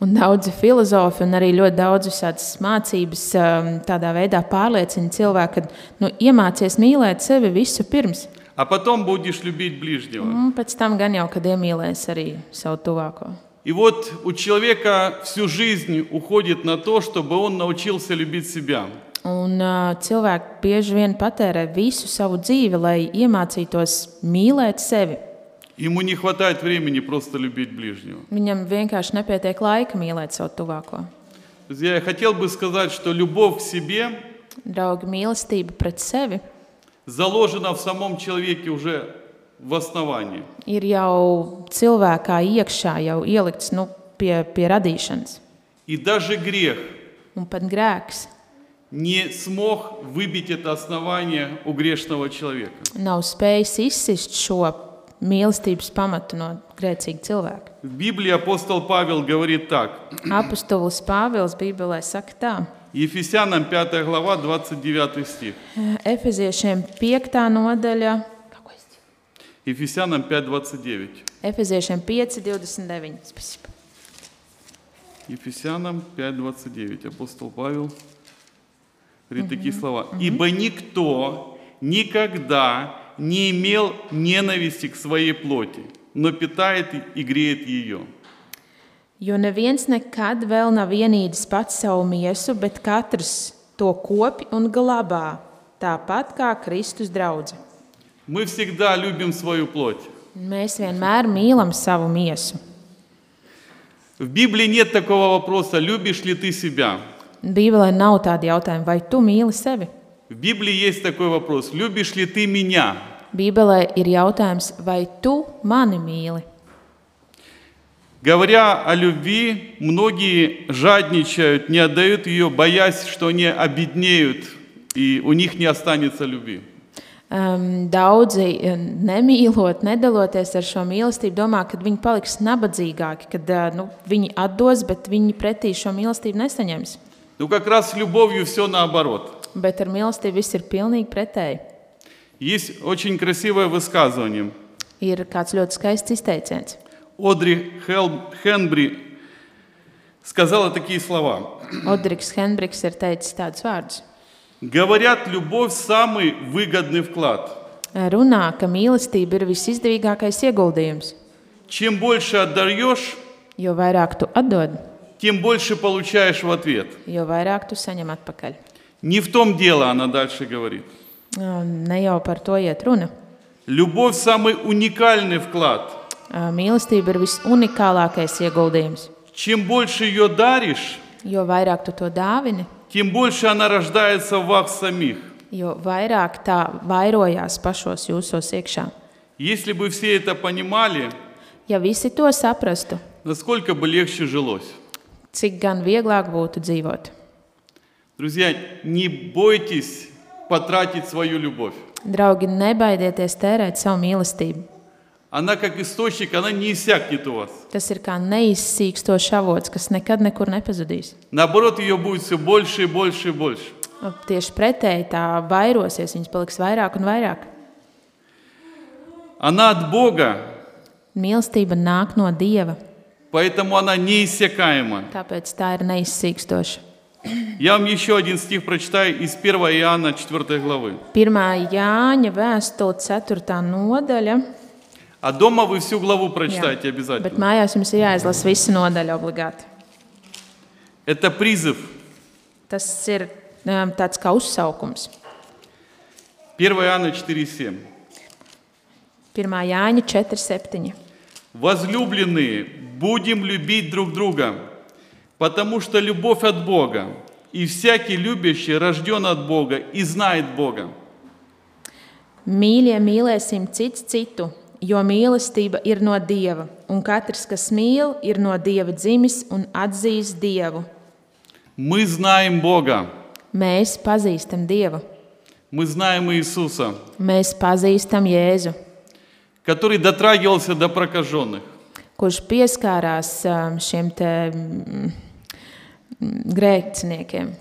Speaker 2: Un daudzi filozofi un arī ļoti daudz visādas mācības um, tādā veidā pārliecina cilvēku, ka nu, iemācies mīlēt sevi visu pirms,
Speaker 1: а потом будешь любить ближнего.
Speaker 2: un Mm, pēc tam gan jau, kad iemīlēs arī savu tuvāko.
Speaker 1: И вот у человека всю жизнь уходит на то, чтобы он научился любить себя.
Speaker 2: Un uh, cilvēki bieži vien patērē visu savu dzīvi, lai iemācītos mīlēt sevi.
Speaker 1: Ему не хватает времени просто любить ближнего.
Speaker 2: Viņam vienkārši nepietiek laika mīlēt savu tuvāko.
Speaker 1: Друзья, я хотел бы сказать, что любовь к себе
Speaker 2: Draugi, mīlestība pret sevi
Speaker 1: заложена в самом человеке уже в основании.
Speaker 2: ir jau cilvēkā iekšā, jau ielikts nu, pie, pie radīšanas.
Speaker 1: И даже грех
Speaker 2: Un pat grēks
Speaker 1: не смог выбить это основание у грешного человека.
Speaker 2: nav spējis izsist šo mīlestības pamatu no grēcīga cilvēka.
Speaker 1: В Библии апостол Павел говорит так.
Speaker 2: Apostols Pāvils Bībelē saka tā:
Speaker 1: Ефесянам 5 глава, 29 стих.
Speaker 2: Eh, Efeziešiem 5. nodaļa,
Speaker 1: Ефесянам 5, 29.
Speaker 2: Efeziešiem 5, 29. Spasiba.
Speaker 1: Ефесянам 5, 29. Апостол Павел говорит такие слова. «Ибо никто никогда не имел ненависти к своей плоти, но питает и греет ее».
Speaker 2: Jo neviens nekad vēl nav vienīdis pats savu miesu, bet katrs to kopi un glabā, tāpat kā Kristus draugs.
Speaker 1: Мы всегда любим свою плоть.
Speaker 2: Mēs vienmēr mīlam savu miesu.
Speaker 1: В Библии нет такого вопроса, любишь ли ты себя.
Speaker 2: Bībelē nav tāda jautājuma, vai tu mīli sevi?
Speaker 1: В Библии есть такой вопрос, любишь ли ты меня.
Speaker 2: Bībelē ir jautājums, vai tu mani mīli?
Speaker 1: Говоря о любви, многие жадничают, не отдают ее, боясь, что они обеднеют, и у них не останется любви.
Speaker 2: Um, daudzi eh, nemīlot, nedaloties ar šo mīlestību, domā, ka viņi paliks nabadzīgāki, kad eh, nu, viņi atdos, bet viņi pretī šo mīlestību nesaņems.
Speaker 1: Ну как раз с любовью все наоборот.
Speaker 2: Bet ar mīlestību viss ir pilnīgi pretēji.
Speaker 1: Есть очень красивое высказывание.
Speaker 2: Ir kāds ļoti skaists izteiciens.
Speaker 1: Одри Хел- Хенбри сказала такие слова.
Speaker 2: Odriks Henbriks ir teicis tādus vārdus.
Speaker 1: Говорят, любовь самый выгодный вклад.
Speaker 2: Eh, Runā, ka mīlestība ir visizdevīgākais ieguldījums.
Speaker 1: Чем больше отдаешь,
Speaker 2: Jo vairāk tu atdod,
Speaker 1: тем больше получаешь в ответ.
Speaker 2: jo vairāk tu saņem atpakaļ.
Speaker 1: Не в том дело, она дальше говорит.
Speaker 2: Um, Ne jau par to iet runa.
Speaker 1: Любовь – самый уникальный вклад.
Speaker 2: Uh, Mīlestība ir visunikālākais ieguldījums.
Speaker 1: Чем больше ее даришь,
Speaker 2: Jo vairāk tu to dāvini,
Speaker 1: тем больше она рождается в вас самих.
Speaker 2: jo vairāk tā vairojās pašos jūsos iekšā.
Speaker 1: Если бы все это понимали,
Speaker 2: Ja visi to saprastu,
Speaker 1: насколько бы легче жилось.
Speaker 2: cik gan vieglāk būtu dzīvot.
Speaker 1: Друзья, не бойтесь потратить свою любовь.
Speaker 2: Draugi, nebaidieties tērēt savu mīlestību.
Speaker 1: Она как источник, она не иссякнет у вас.
Speaker 2: Tas ir kā neizsīkstošs avots, kas nekad nekur nepazudīs.
Speaker 1: Наоборот, ее будет все больше и больше и больше.
Speaker 2: Tieši pretēji tā vairosies, viņas paliks vairāk un vairāk.
Speaker 1: Она от Бога,
Speaker 2: Mīlestība nāk no Dieva,
Speaker 1: поэтому она неиссякаема.
Speaker 2: tāpēc tā ir neizsīkstoša.
Speaker 1: Я вам еще один стих прочитаю из 1 Иоанна 4 главы.
Speaker 2: 1. Jāņa vēstule, 4. nodaļa.
Speaker 1: А дома вы всю главу прочитаете
Speaker 2: Bet
Speaker 1: обязательно.
Speaker 2: mājās jums ir jāizlasa visa nodaļa obligāti.
Speaker 1: Это призыв.
Speaker 2: Tas ir um, tāds kā uzsaukums.
Speaker 1: 1 Иоанна 4,7.
Speaker 2: 1. Jāņa 4.7.
Speaker 1: Возлюбленные, будем любить друг друга, потому что любовь от Бога, и всякий любящий рожден от Бога и знает Бога.
Speaker 2: Mīļie, mīlēsim cits citu, jo mīlestība ir no Dieva, un katrs, kas mīl, ir no Dieva dzimis un atzīst Dievu.
Speaker 1: Мы знаем Бога,
Speaker 2: Mēs pazīstam Dievu,
Speaker 1: мы знаем Иисуса,
Speaker 2: mēs pazīstam Jēzu,
Speaker 1: который дотрагивался до прокаженных.
Speaker 2: kurš pieskārās um, šiem te, mm, mm, grēciniekiem,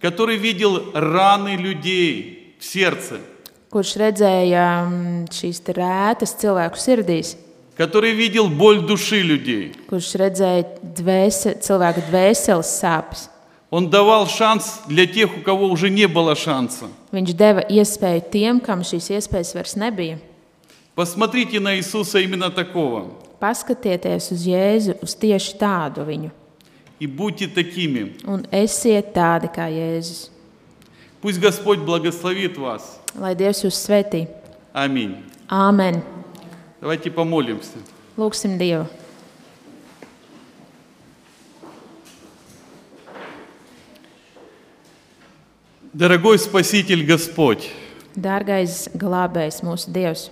Speaker 1: который видел раны людей в сердце,
Speaker 2: kurš redzēja mm, šīs te rētas cilvēku sirdīs,
Speaker 1: который видел боль души людей.
Speaker 2: kurš redzēja dvēse, cilvēku dvēseles sāpes.
Speaker 1: Он давал шанс для тех, у кого уже не было шанса.
Speaker 2: Viņš deva iespēju tiem, kam šīs iespējas vairs nebija.
Speaker 1: Посмотрите на Иисуса именно такого.
Speaker 2: Paskatieties uz Jēzu, uz tieši tādu viņu,
Speaker 1: И будьте такими.
Speaker 2: un esiet tādi kā Jēzus.
Speaker 1: Пусть Господь благословит вас.
Speaker 2: Lai Dievs jūs svētī.
Speaker 1: Аминь.
Speaker 2: Āmen!
Speaker 1: Давайте помолимся.
Speaker 2: Lūksim Dievu!
Speaker 1: Дорогой Спаситель Господь,
Speaker 2: Dārgais glābējs, mūsu Dievs!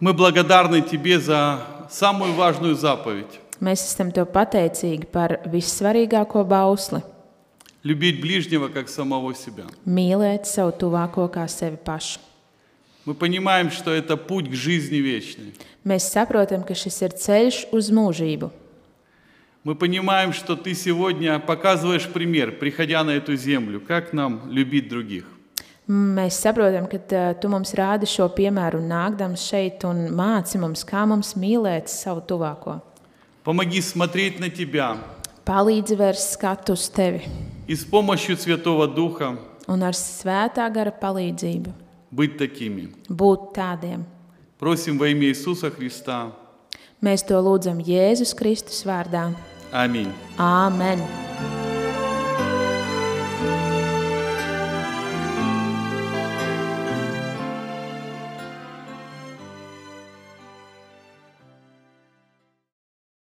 Speaker 1: мы благодарны Тебе за самую важную заповедь
Speaker 2: Mēs esam Tev pateicīgi par vissvarīgāko bausli
Speaker 1: – любить ближнего, как самого себя.
Speaker 2: - mīlēt savu tuvāko kā sevi pašu.
Speaker 1: Мы понимаем, что это путь к жизни вечной.
Speaker 2: Mēs saprotam, ka šis ir ceļš uz mūžību.
Speaker 1: Мы понимаем, что ты сегодня показываешь пример, приходя на эту землю, как нам любить других.
Speaker 2: Mēs saprotam, ka ā, tu mums rādi šo piemēru, nākdams šeit un māci mums, kā mums mīlēt savu tuvāko.
Speaker 1: Помоги смотреть на тебя
Speaker 2: Palīdzi vērst skatu uz tevi
Speaker 1: и с помощью Святого Духа
Speaker 2: un ar svētā gara palīdzību
Speaker 1: быть такими.
Speaker 2: būt tādiem.
Speaker 1: Просим во имя Иисуса Христа.
Speaker 2: Mēs to lūdzam Jēzus Kristus vārdā.
Speaker 1: Аминь.
Speaker 2: Āmen!